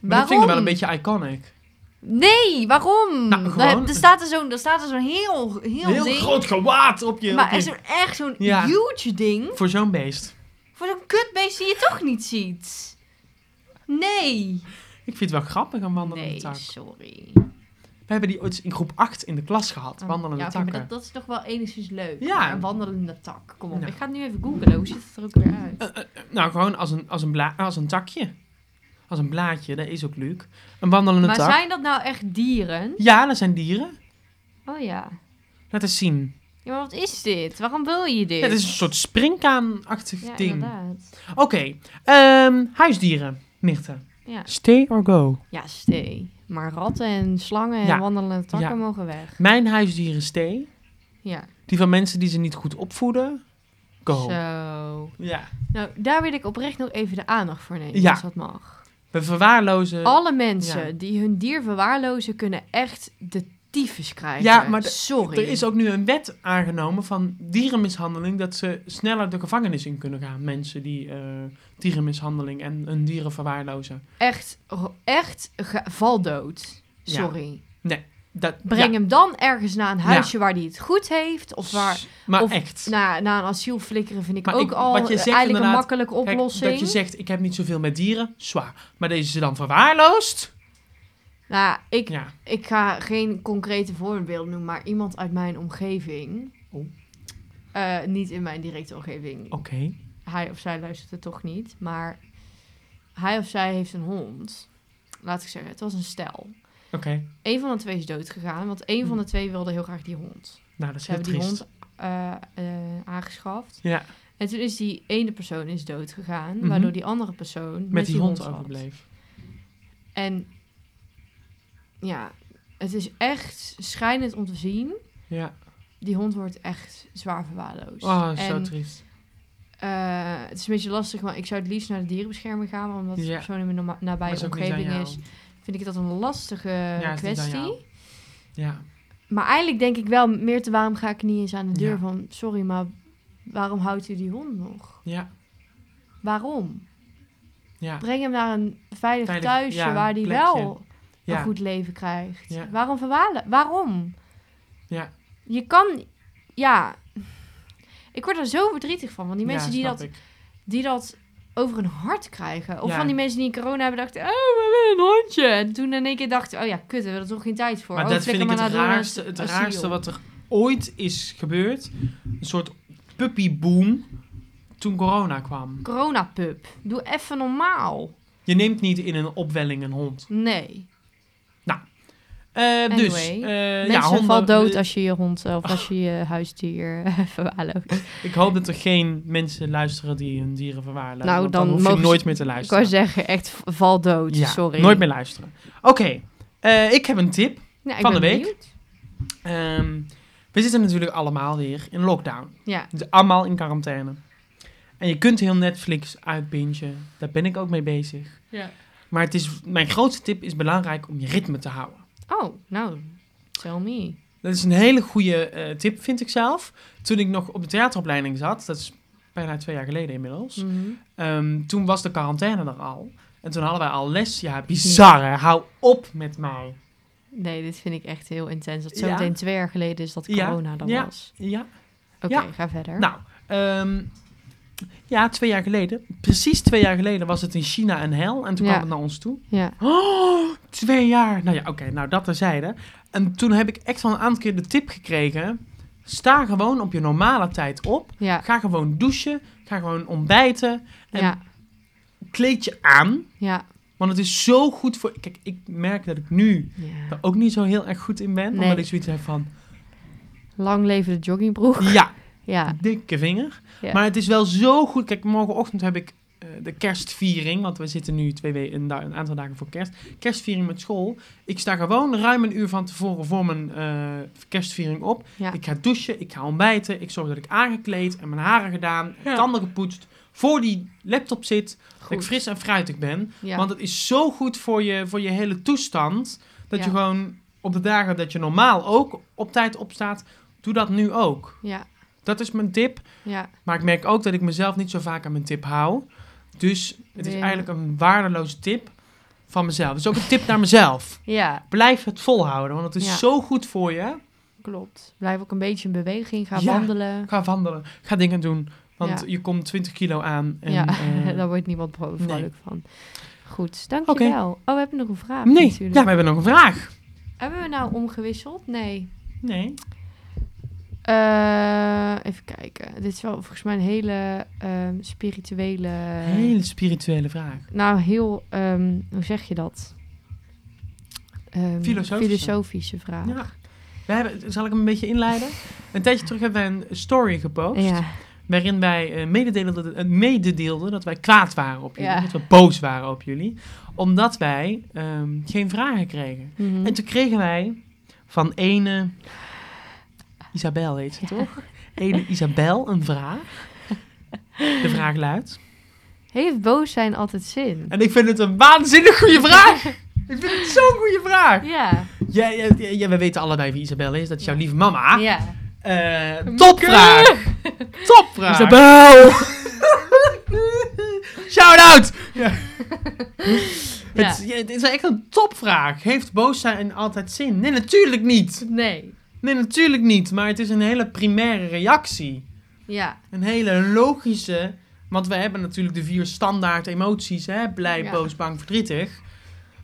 B: dat vind ik wel een beetje iconic.
C: Nee, waarom?
B: Nou,
C: Daar-
B: gewoon-
C: er staat er zo'n er staat er zo'n heel, heel,
B: Heel
C: ding.
B: groot gewaad op je. op
C: maar
B: je-
C: er is zo'n- echt zo'n
B: Ja.
C: huge ding.
B: Voor zo'n beest.
C: Voor zo'n kutbeest die je toch niet ziet. Nee.
B: Ik vind het wel grappig, een wandelende
C: Nee,
B: tak.
C: sorry.
B: We hebben die ooit in groep 8 in de klas gehad, wandelende
C: Oh, ja, oké, maar
B: takken.
C: dat, dat is toch wel enigszins leuk.
B: Ja.
C: Maar Een wandelende tak. Kom op.
B: Nou.
C: Ik ga het nu even googlen. Hoe ziet het er ook weer uit?
B: Eh, eh, nou, gewoon als een, als, een bla- als een takje. Als een blaadje, dat is ook leuk. Een wandelende
C: maar
B: tak.
C: zijn dat nou echt dieren?
B: Ja, dat zijn dieren.
C: Oh ja.
B: Laat eens zien.
C: Ja, maar wat is dit? Waarom wil je dit?
B: Ja, dat is een soort springkaanachtig
C: Ja,
B: ding.
C: inderdaad.
B: Oké, ehm, huisdieren, Mirte.
C: Ja.
B: Stay or go?
C: Ja, stee. Maar ratten en slangen en
B: Ja.
C: wandelende takken
B: Ja.
C: mogen weg.
B: Mijn huisdieren stay.
C: Ja.
B: Die van mensen die ze niet goed opvoeden, go.
C: Zo.
B: Ja.
C: Nou, daar wil ik oprecht nog even de aandacht voor nemen,
B: Ja.
C: als dat mag.
B: We verwaarlozen...
C: Alle mensen
B: ja.
C: die hun dier verwaarlozen, kunnen echt de tyfus krijgen.
B: Ja, maar de-
C: Sorry.
B: Er is ook nu een wet aangenomen van dierenmishandeling dat ze sneller de gevangenis in kunnen gaan. Mensen die eh, dierenmishandeling en hun dieren verwaarlozen.
C: Echt, ro- echt ge- valdood.
B: Ja.
C: Sorry.
B: Dat,
C: Breng
B: ja,
C: hem dan ergens naar een
B: Ja.
C: huisje waar hij het goed heeft. Of waar...
B: s- Maar
C: of-
B: echt.
C: Naar, naar een asiel flikkeren vind ik
B: Maar
C: ook
B: ik-
C: al
B: wat je
C: eh,
B: zegt
C: eigenlijk een
B: inderdaad,
C: makkelijke
B: Kijk,
C: oplossing.
B: dat je zegt, ik heb niet zoveel met dieren, zwaar. Maar deze ze dan verwaarloosd?
C: Nou, ik,
B: Ja.
C: ik ga geen concrete voorbeelden noemen, maar iemand uit mijn omgeving.
B: Oh.
C: Eh, niet in mijn directe omgeving.
B: Oké.
C: hij of zij luistert het toch niet, maar hij of zij heeft een hond. Laat ik zeggen, het was een stel.
B: Oké.
C: Eén van de twee is dood gegaan, want één van de twee wilde heel graag die hond.
B: Nou, dat is
C: Ze
B: Hmm. heel
C: hebben die
B: triest.
C: hond eh, eh, aangeschaft.
B: Ja,
C: En toen is die ene persoon is dood gegaan,
B: Mhm.
C: waardoor die andere persoon met,
B: met die hond
C: zat.
B: overbleef.
C: En ja, het is echt schrijnend om te zien.
B: Ja.
C: Die hond wordt echt zwaar verwaarloosd.
B: Oh, zo
C: Dus en
B: triest.
C: eh, het is een beetje lastig, maar ik zou het liefst naar de dierenbeschermer gaan. want Omdat
B: Ja.
C: de persoon in mijn norma-
B: Maar
C: nabije
B: is ook niet aan
C: omgeving
B: jou.
C: is, vind ik dat een lastige
B: Ja, is niet aan
C: kwestie.
B: jou. Ja.
C: Maar eigenlijk denk ik wel meer te waarom ga ik niet eens aan de deur
B: Ja.
C: van... Sorry, maar waarom houdt u die hond nog?
B: Ja.
C: Waarom?
B: Ja.
C: Breng hem naar een veilig,
B: Veilig-
C: thuisje
B: ja,
C: waar hij
B: plekje.
C: wel
B: Ja.
C: een goed leven krijgt.
B: Ja.
C: Waarom verwalen? Waarom?
B: Ja.
C: Je kan... Ja. Ik word er zo verdrietig van. Want die
B: Ja,
C: mensen die,
B: snap
C: dat,
B: ik.
C: die dat over hun hart krijgen. Of
B: Ja.
C: van die mensen die in corona hebben dachten... Oh, we willen een hondje. En toen in één keer dachten... Oh ja, kut, we hebben er toch geen tijd voor.
B: Maar
C: oh,
B: dat vind
C: flikker
B: ik
C: maar
B: het
C: naar Oh, door naar
B: raarste, het
C: asiel.
B: raarste wat er ooit is gebeurd. Een soort puppyboom toen corona kwam.
C: Coronapup. Doe even normaal.
B: Je neemt niet in een opwelling een hond.
C: Nee.
B: Eh, dus,
C: Anyway,
B: eh,
C: Mensen
B: ja, honden, Oh.
C: valt dood
B: eh,
C: als je je hond eh, of als je je huisdier eh, verwaarloost.
B: Ik hoop dat er geen mensen luisteren die hun dieren verwaarlozen.
C: Nou,
B: want dan,
C: dan
B: hoef je
C: mogen ze-
B: nooit meer te
C: Ik wou
B: luisteren.
C: zeggen, echt v- val dood.
B: Ja,
C: Sorry.
B: Nooit meer luisteren. Oké, eh, ik heb een tip.
C: Nou, ik
B: van de
C: ben
B: week.
C: benieuwd.
B: Ehm, we zitten natuurlijk allemaal weer in lockdown.
C: Ja.
B: Dus allemaal in quarantaine. En je kunt heel Netflix uitbingen. Daar ben ik ook mee bezig.
A: Ja.
B: Maar het is, mijn grootste tip is belangrijk om je ritme te houden.
C: Oh, nou, tell me.
B: Dat is een hele goede eh, tip, vind ik zelf. Toen ik nog op de theateropleiding zat, dat is bijna twee jaar geleden inmiddels.
C: Mhm.
B: Ehm, toen was de quarantaine er al. En toen hadden wij al les. Ja, bizar hè? Hou op met mij.
C: Nee, dit vind ik echt heel intens. Dat zo
B: Ja.
C: meteen twee jaar geleden is dat
B: Ja,
C: corona dan
B: ja.
C: was.
B: Ja,
C: Oké,
B: Ja.
C: ga verder.
B: nou. ehm, ja, twee jaar geleden. Precies twee jaar geleden was het in China een hel. En toen
C: Ja.
B: kwam het naar ons toe.
C: Ja.
B: Oh, twee jaar. Nou ja, oké. nou, dat terzijde. En toen heb ik echt wel een aantal keer de tip gekregen. Sta gewoon op je normale tijd op.
C: Ja.
B: Ga gewoon douchen. Ga gewoon ontbijten. En
C: Ja.
B: kleed je aan.
C: Ja.
B: Want het is zo goed voor... Kijk, ik merk dat ik nu
C: ja.
B: er ook niet zo heel erg goed in ben.
C: Nee.
B: Omdat ik zoiets heb van...
C: Lang leven de joggingbroek.
B: Ja,
C: Ja.
B: dikke vinger.
C: Ja.
B: Maar het is wel zo goed. Kijk, morgenochtend heb ik eh, de kerstviering. Want we zitten nu twee we een, da- een aantal dagen voor kerst. Kerstviering met school. Ik sta gewoon ruim een uur van tevoren voor mijn eh, kerstviering op.
C: Ja.
B: Ik ga douchen, ik ga ontbijten. Ik zorg dat ik aangekleed en mijn haren gedaan.
A: Ja.
B: Tanden gepoetst. Voor die laptop zit. Dat ik
C: Goed.
B: fris en fruitig ben.
C: Ja.
B: Want het is zo goed voor je, voor je hele toestand. Dat
C: Ja.
B: je gewoon op de dagen dat je normaal ook op tijd opstaat, doe dat nu ook.
C: Ja.
B: Dat is mijn tip.
C: Ja.
B: Maar ik merk ook dat ik mezelf niet zo vaak aan mijn tip hou. Dus het is
C: Ja.
B: eigenlijk een waardeloze tip van mezelf. Het is ook een tip naar mezelf.
C: Ja.
B: Blijf het volhouden, want het is
C: Ja.
B: zo goed voor je.
C: Klopt. Blijf ook een beetje in beweging. Ga
B: Ja.
C: wandelen.
B: Ga wandelen, ga dingen doen. Want
C: Ja.
B: je komt 20 kilo aan. En,
C: ja,
B: eh,
C: daar wordt niemand bro- vrolijk van. Goed, dankjewel. Oh, we hebben nog een vraag
B: nee,
C: natuurlijk.
B: ja, we hebben nog een vraag.
C: Hebben we nou omgewisseld? Nee.
B: Nee.
C: Eh, even kijken. Dit is wel volgens mij een hele ehm, spirituele...
B: Hele spirituele vraag.
C: Nou, heel... ehm, hoe zeg je dat? Ehm,
B: Filosofische.
C: filosofische vraag.
B: Ja. We hebben, zal ik hem een beetje inleiden? Een tijdje terug hebben wij een story gepost.
C: Ja,
B: Waarin wij eh, mededeelden, dat- eh, mededeelden dat wij kwaad waren op jullie.
C: Ja.
B: Dat we boos waren op jullie. Omdat wij ehm, geen vragen kregen.
C: mhm.
B: En toen kregen wij van ene... Isabel heet ze
C: Ja.
B: toch? Ene Isabel een vraag. De vraag luidt...
C: Heeft boos zijn altijd zin?
B: En ik vind het een waanzinnig goede vraag! Ik vind het zo'n goede vraag!
C: Ja.
B: Ja, ja, ja, ja, we weten allebei wie Isabel is. Dat is jouw
C: Ja.
B: lieve mama.
C: Ja.
B: Eh, topvraag. Topvraag.
C: Isabel!
B: Shout out. Ja.
C: Ja.
B: Het, ja, het is echt een topvraag. Heeft boos zijn altijd zin? Nee, natuurlijk niet.
C: Nee.
B: Nee, natuurlijk niet. Maar het is een hele primaire reactie.
C: Ja.
B: Een hele logische. Want we hebben natuurlijk de vier standaard emoties. Hè? Blij,
C: Ja.
B: boos, bang, verdrietig.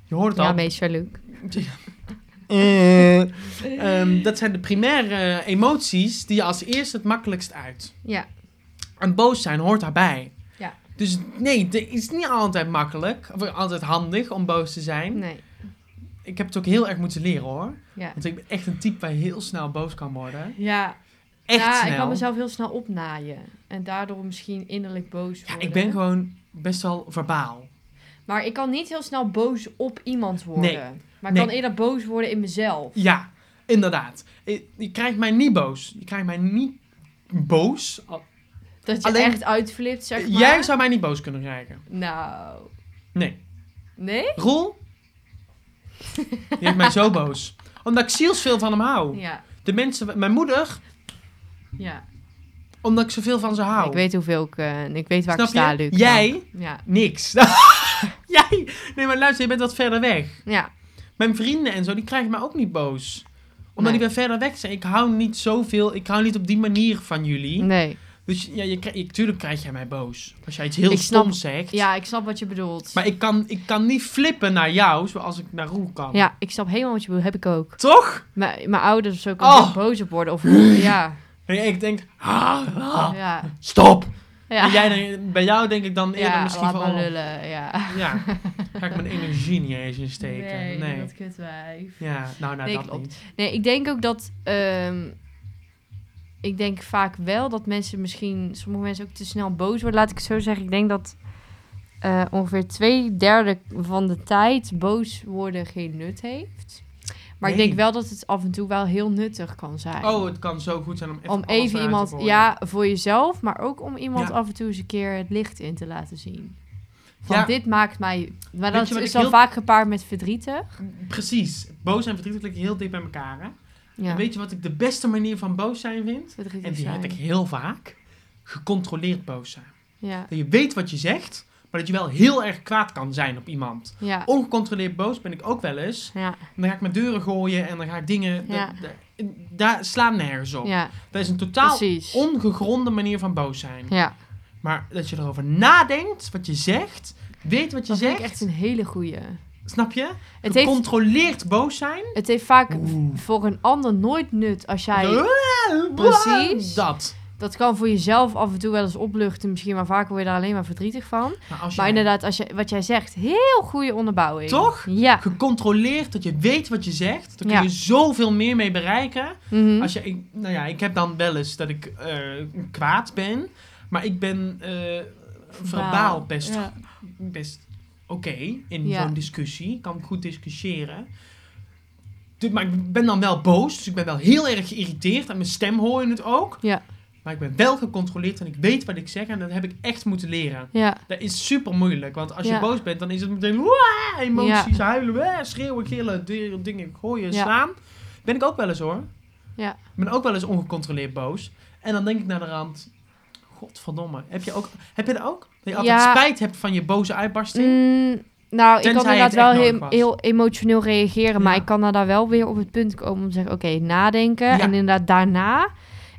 B: Je hoort het
C: Ja,
B: al.
C: meester Luc.
B: Eh, ehm, dat zijn de primaire emoties die je als eerste het makkelijkst uit.
C: Ja.
B: En boos zijn hoort daarbij.
C: Ja.
B: Dus nee, het is niet altijd makkelijk, of altijd handig om boos te zijn.
C: Nee.
B: Ik heb het ook heel erg moeten leren hoor.
C: Ja.
B: Want ik ben echt een type waar heel snel boos kan worden.
C: Ja.
B: Echt
C: ja,
B: snel.
C: ik kan mezelf heel snel opnaaien. En daardoor misschien innerlijk boos
B: ja,
C: worden.
B: ik ben gewoon best wel verbaal.
C: Maar ik kan niet heel snel boos op iemand worden. Maar ik
B: Nee.
C: kan eerder boos worden in mezelf.
B: Ja, inderdaad. Je, je krijgt mij niet boos. Je krijgt mij niet boos. Al-
C: Dat je
B: Alleen-
C: echt uitflipt, zeg maar.
B: Jij zou mij niet boos kunnen krijgen.
C: Nou,
B: Nee.
C: nee?
B: Roel? Die heeft mij zo boos. Omdat ik zielsveel van hem hou.
C: Ja,
B: De mensen, mijn moeder,
C: ja.
B: omdat ik zoveel van ze hou.
C: Ik weet hoeveel ik... eh, ik weet waar
B: Snap
C: ik sta,
B: je?
C: Luc.
B: Jij?
C: Ja.
B: Niks. Jij? Nee, maar luister, je bent wat verder weg.
C: Ja.
B: Mijn vrienden en zo, die krijgen mij ook niet boos. Omdat
C: Nee.
B: die weer verder weg zijn. Ik hou niet zoveel, ik hou niet op die manier van jullie.
C: Nee.
B: Dus ja, je, krij- je, tuurlijk krijg jij mij boos. Als jij iets heel
C: Ik snap-
B: stoms zegt.
C: Ja, ik snap wat je bedoelt.
B: Maar ik kan, ik kan niet flippen naar jou zoals ik naar Roel kan.
C: Ja, ik snap helemaal wat je bedoelt. Heb ik ook.
B: Toch?
C: Mijn mijn ouders of zo kan
B: Oh.
C: heel boos op worden. Of, ja,
B: En ik denk, ha, ha,
C: ja.
B: stop. En
C: Ja,
B: jij, dan- bij jou denk ik dan eerder
C: ja
B: misschien
C: laat
B: van...
C: maar
B: oh,
C: lullen. Ja.
B: Ja, ga ik mijn energie niet eens insteken. Nee.
C: kutwijf.
B: Ja, nou, nou
C: Nee,
B: dat
C: klopt.
B: niet.
C: Nee, ik denk ook dat... ehm, ik denk vaak wel dat mensen misschien... Sommige mensen ook te snel boos worden. Laat ik het zo zeggen. Ik denk dat eh, ongeveer twee derde van de tijd boos worden geen nut heeft. Maar ik
B: Nee.
C: denk wel dat het af en toe wel heel nuttig kan zijn.
B: Oh, het kan zo goed zijn om even
C: om
B: alles
C: even
B: eruit
C: iemand...
B: te gooien.
C: Ja, voor jezelf. Maar ook om iemand
B: Ja.
C: af en toe eens een keer het licht in te laten zien. Van
B: Ja.
C: dit maakt mij... Maar
B: Weet
C: dat
B: je wat
C: is
B: ik
C: dan
B: heel-
C: vaak gepaard met verdrietig.
B: Precies. Boos en verdrietig liggen heel dicht bij elkaar. Hè?
C: Ja,
B: En weet je wat ik de beste manier van boos zijn vind?
C: verdrietig
B: En die heb ik
C: zijn.
B: heel vaak. Gecontroleerd boos zijn.
C: Ja,
B: Dat je weet wat je zegt, maar dat je wel heel erg kwaad kan zijn op iemand.
C: ja,
B: Ongecontroleerd boos ben ik ook wel eens.
C: ja,
B: Dan ga ik mijn deuren gooien en dan ga ik dingen...
C: Ja.
B: dat- dat- daar slaan nergens op.
C: ja,
B: Dat is een totaal
C: precies.
B: ongegronde manier van boos zijn.
C: Ja,
B: Maar dat je erover nadenkt, wat je zegt, weet wat je
C: dat vind
B: zegt.
C: ik echt een hele goeie.
B: Snap je?
C: Het heeft,
B: Gecontroleerd boos zijn.
C: het heeft vaak
B: Oeh.
C: voor een ander nooit nut als jij...
B: Zo,
C: Precies.
B: Dat.
C: Dat kan voor jezelf af en toe wel eens opluchten misschien, maar vaak word je daar alleen maar verdrietig van.
B: Maar Nou, als je
C: Maar inderdaad, als je, wat jij zegt, heel goede onderbouwing.
B: Toch?
C: Ja.
B: gecontroleerd, dat je weet wat je zegt, dan kun
C: Ja.
B: je zoveel meer mee bereiken.
C: Mhm.
B: Als je, ik, nou ja, ik heb dan wel eens dat ik eh, kwaad ben, maar ik ben eh verbaal best,
C: Ja.
B: best oké in
C: Ja.
B: zo'n discussie. Kan ik goed discussiëren. Dus- Maar ik ben dan wel boos, dus ik ben wel heel erg geïrriteerd en mijn stem hoor je het ook.
C: Ja.
B: Maar ik ben wel gecontroleerd en ik weet wat ik zeg en dat heb ik echt moeten leren.
C: ja.
B: Dat is super moeilijk, want als
C: Ja.
B: je boos bent, dan is het meteen "Waa!" emoties, huilen, "Waa!" schreeuwen, gillen, di- dingen gooien,
C: Ja.
B: slaan. Ben ik ook wel eens hoor.
C: Ja.
B: Ik ben ook wel eens ongecontroleerd boos. En dan denk ik naar de rand, godverdomme, heb je, ook, heb je dat ook? Dat je altijd
C: Ja.
B: spijt hebt van je boze uitbarsting?
C: Mm, nou, ik kan
B: Tenzij
C: inderdaad
B: het echt
C: wel
B: nodig
C: heel,
B: was.
C: heel emotioneel reageren, maar
B: Ja.
C: ik kan daar wel weer op het punt komen om te zeggen: oké, nadenken.
B: Ja.
C: En inderdaad, daarna,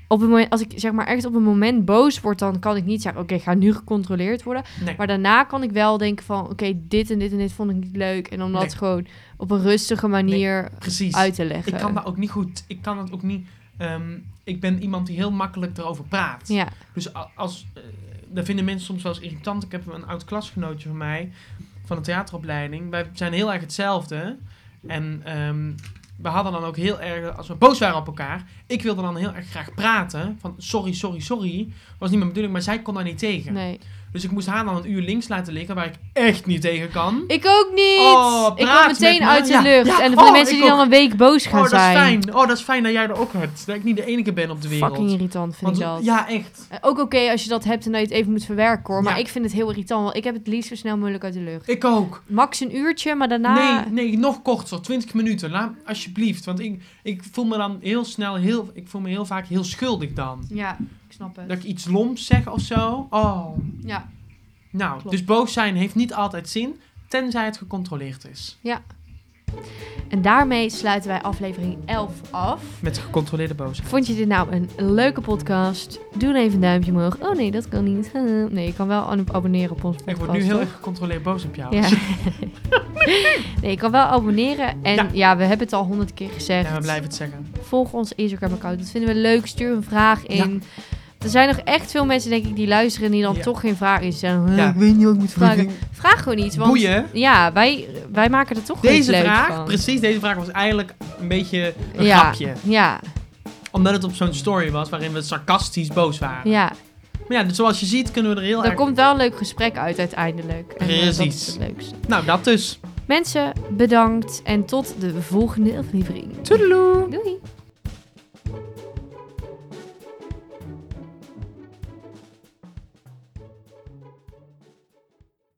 C: op het moment, als ik zeg maar echt op een moment boos word, dan kan ik niet zeggen: oké, ik ga nu gecontroleerd worden.
B: Nee.
C: Maar daarna kan ik wel denken: van oké, dit en dit en dit vond ik niet leuk. En om dat
B: Nee.
C: gewoon op een rustige manier
B: Precies.
C: uit te leggen.
B: Ik kan dat ook niet goed, ik kan dat ook niet, ehm, ik ben iemand die heel makkelijk erover praat.
C: Ja,
B: Dus a- als, eh, dat vinden mensen soms wel eens irritant. Ik heb een oud klasgenootje van mij, van een theateropleiding. Wij zijn heel erg hetzelfde. En ehm, we hadden dan ook heel erg, als we boos waren op elkaar, ik wilde dan heel erg graag praten. Van sorry, sorry, sorry. Was niet mijn bedoeling, maar zij kon daar niet tegen.
C: nee.
B: Dus ik moest haar dan een uur links laten liggen, waar ik echt niet tegen kan.
C: Ik ook niet.
B: Oh,
C: ik
B: praat
C: kwam meteen
B: met me.
C: uit de
B: Ja,
C: lucht.
B: ja.
C: En voor de
B: Oh,
C: mensen
B: ik
C: die dan
B: ook.
C: een week boos
B: Oh,
C: gaan
B: dat is
C: zijn.
B: fijn. Oh, dat is fijn dat jij er ook hebt. Dat ik niet de enige ben op de wereld.
C: Fucking irritant vind
B: Want,
C: ik dat.
B: Ja, echt.
C: Eh, Ook oké als je dat hebt en dat je het even moet verwerken hoor. Maar
B: Ja.
C: ik vind het heel irritant, want ik heb het liefst zo snel mogelijk uit de lucht.
B: Ik ook.
C: Max een uurtje, maar daarna...
B: Nee, nee, nog korter, 20 minuten. Laat, alsjeblieft. Want ik, ik voel me dan heel snel, heel, ik voel me heel vaak heel schuldig dan.
C: Ja, ik snap het.
B: Dat ik iets loms zeg of zo. Oh.
C: Ja,
B: Nou,
C: Klopt.
B: dus boos zijn heeft niet altijd zin, tenzij het gecontroleerd is.
C: en daarmee sluiten wij aflevering 11 af.
B: Met gecontroleerde boosheid.
C: Vond je dit nou een leuke podcast? Doe dan even een duimpje omhoog. Oh nee, dat kan niet. Nee, je kan wel ab- abonneren op ons podcast.
B: Ik word nu heel
C: toch?
B: erg gecontroleerd boos op jou.
C: Ja. nee, je kan wel abonneren. En ja,
B: Ja.
C: we hebben het al honderd keer gezegd.
B: En we blijven het zeggen.
C: Volg ons Instagram-account. Dat vinden we leuk. Stuur een vraag in. Er zijn nog echt veel mensen, denk ik, die luisteren en die dan
B: Ja.
C: toch geen vraag is. En,
B: Ja.
C: "Eh, Ik weet niet wat ik moet vragen.
B: Boeien.
C: Vraag gewoon iets. Want
B: Boeien.
C: ja, wij, wij maken er toch iets
B: Deze
C: leuk
B: vraag,
C: van.
B: precies deze vraag was eigenlijk een beetje een
C: ja.
B: grapje.
C: Ja,
B: Omdat het op zo'n story was waarin we sarcastisch boos waren.
C: ja.
B: Maar ja, dus zoals je ziet kunnen we er heel
C: Er
B: erg...
C: komt wel een leuk gesprek uit uiteindelijk. En eh, dat is
B: Precies.
C: het leukste.
B: Nou, dat dus.
C: Mensen, bedankt en tot de volgende aflevering.
B: Toedeloe!
C: Doei!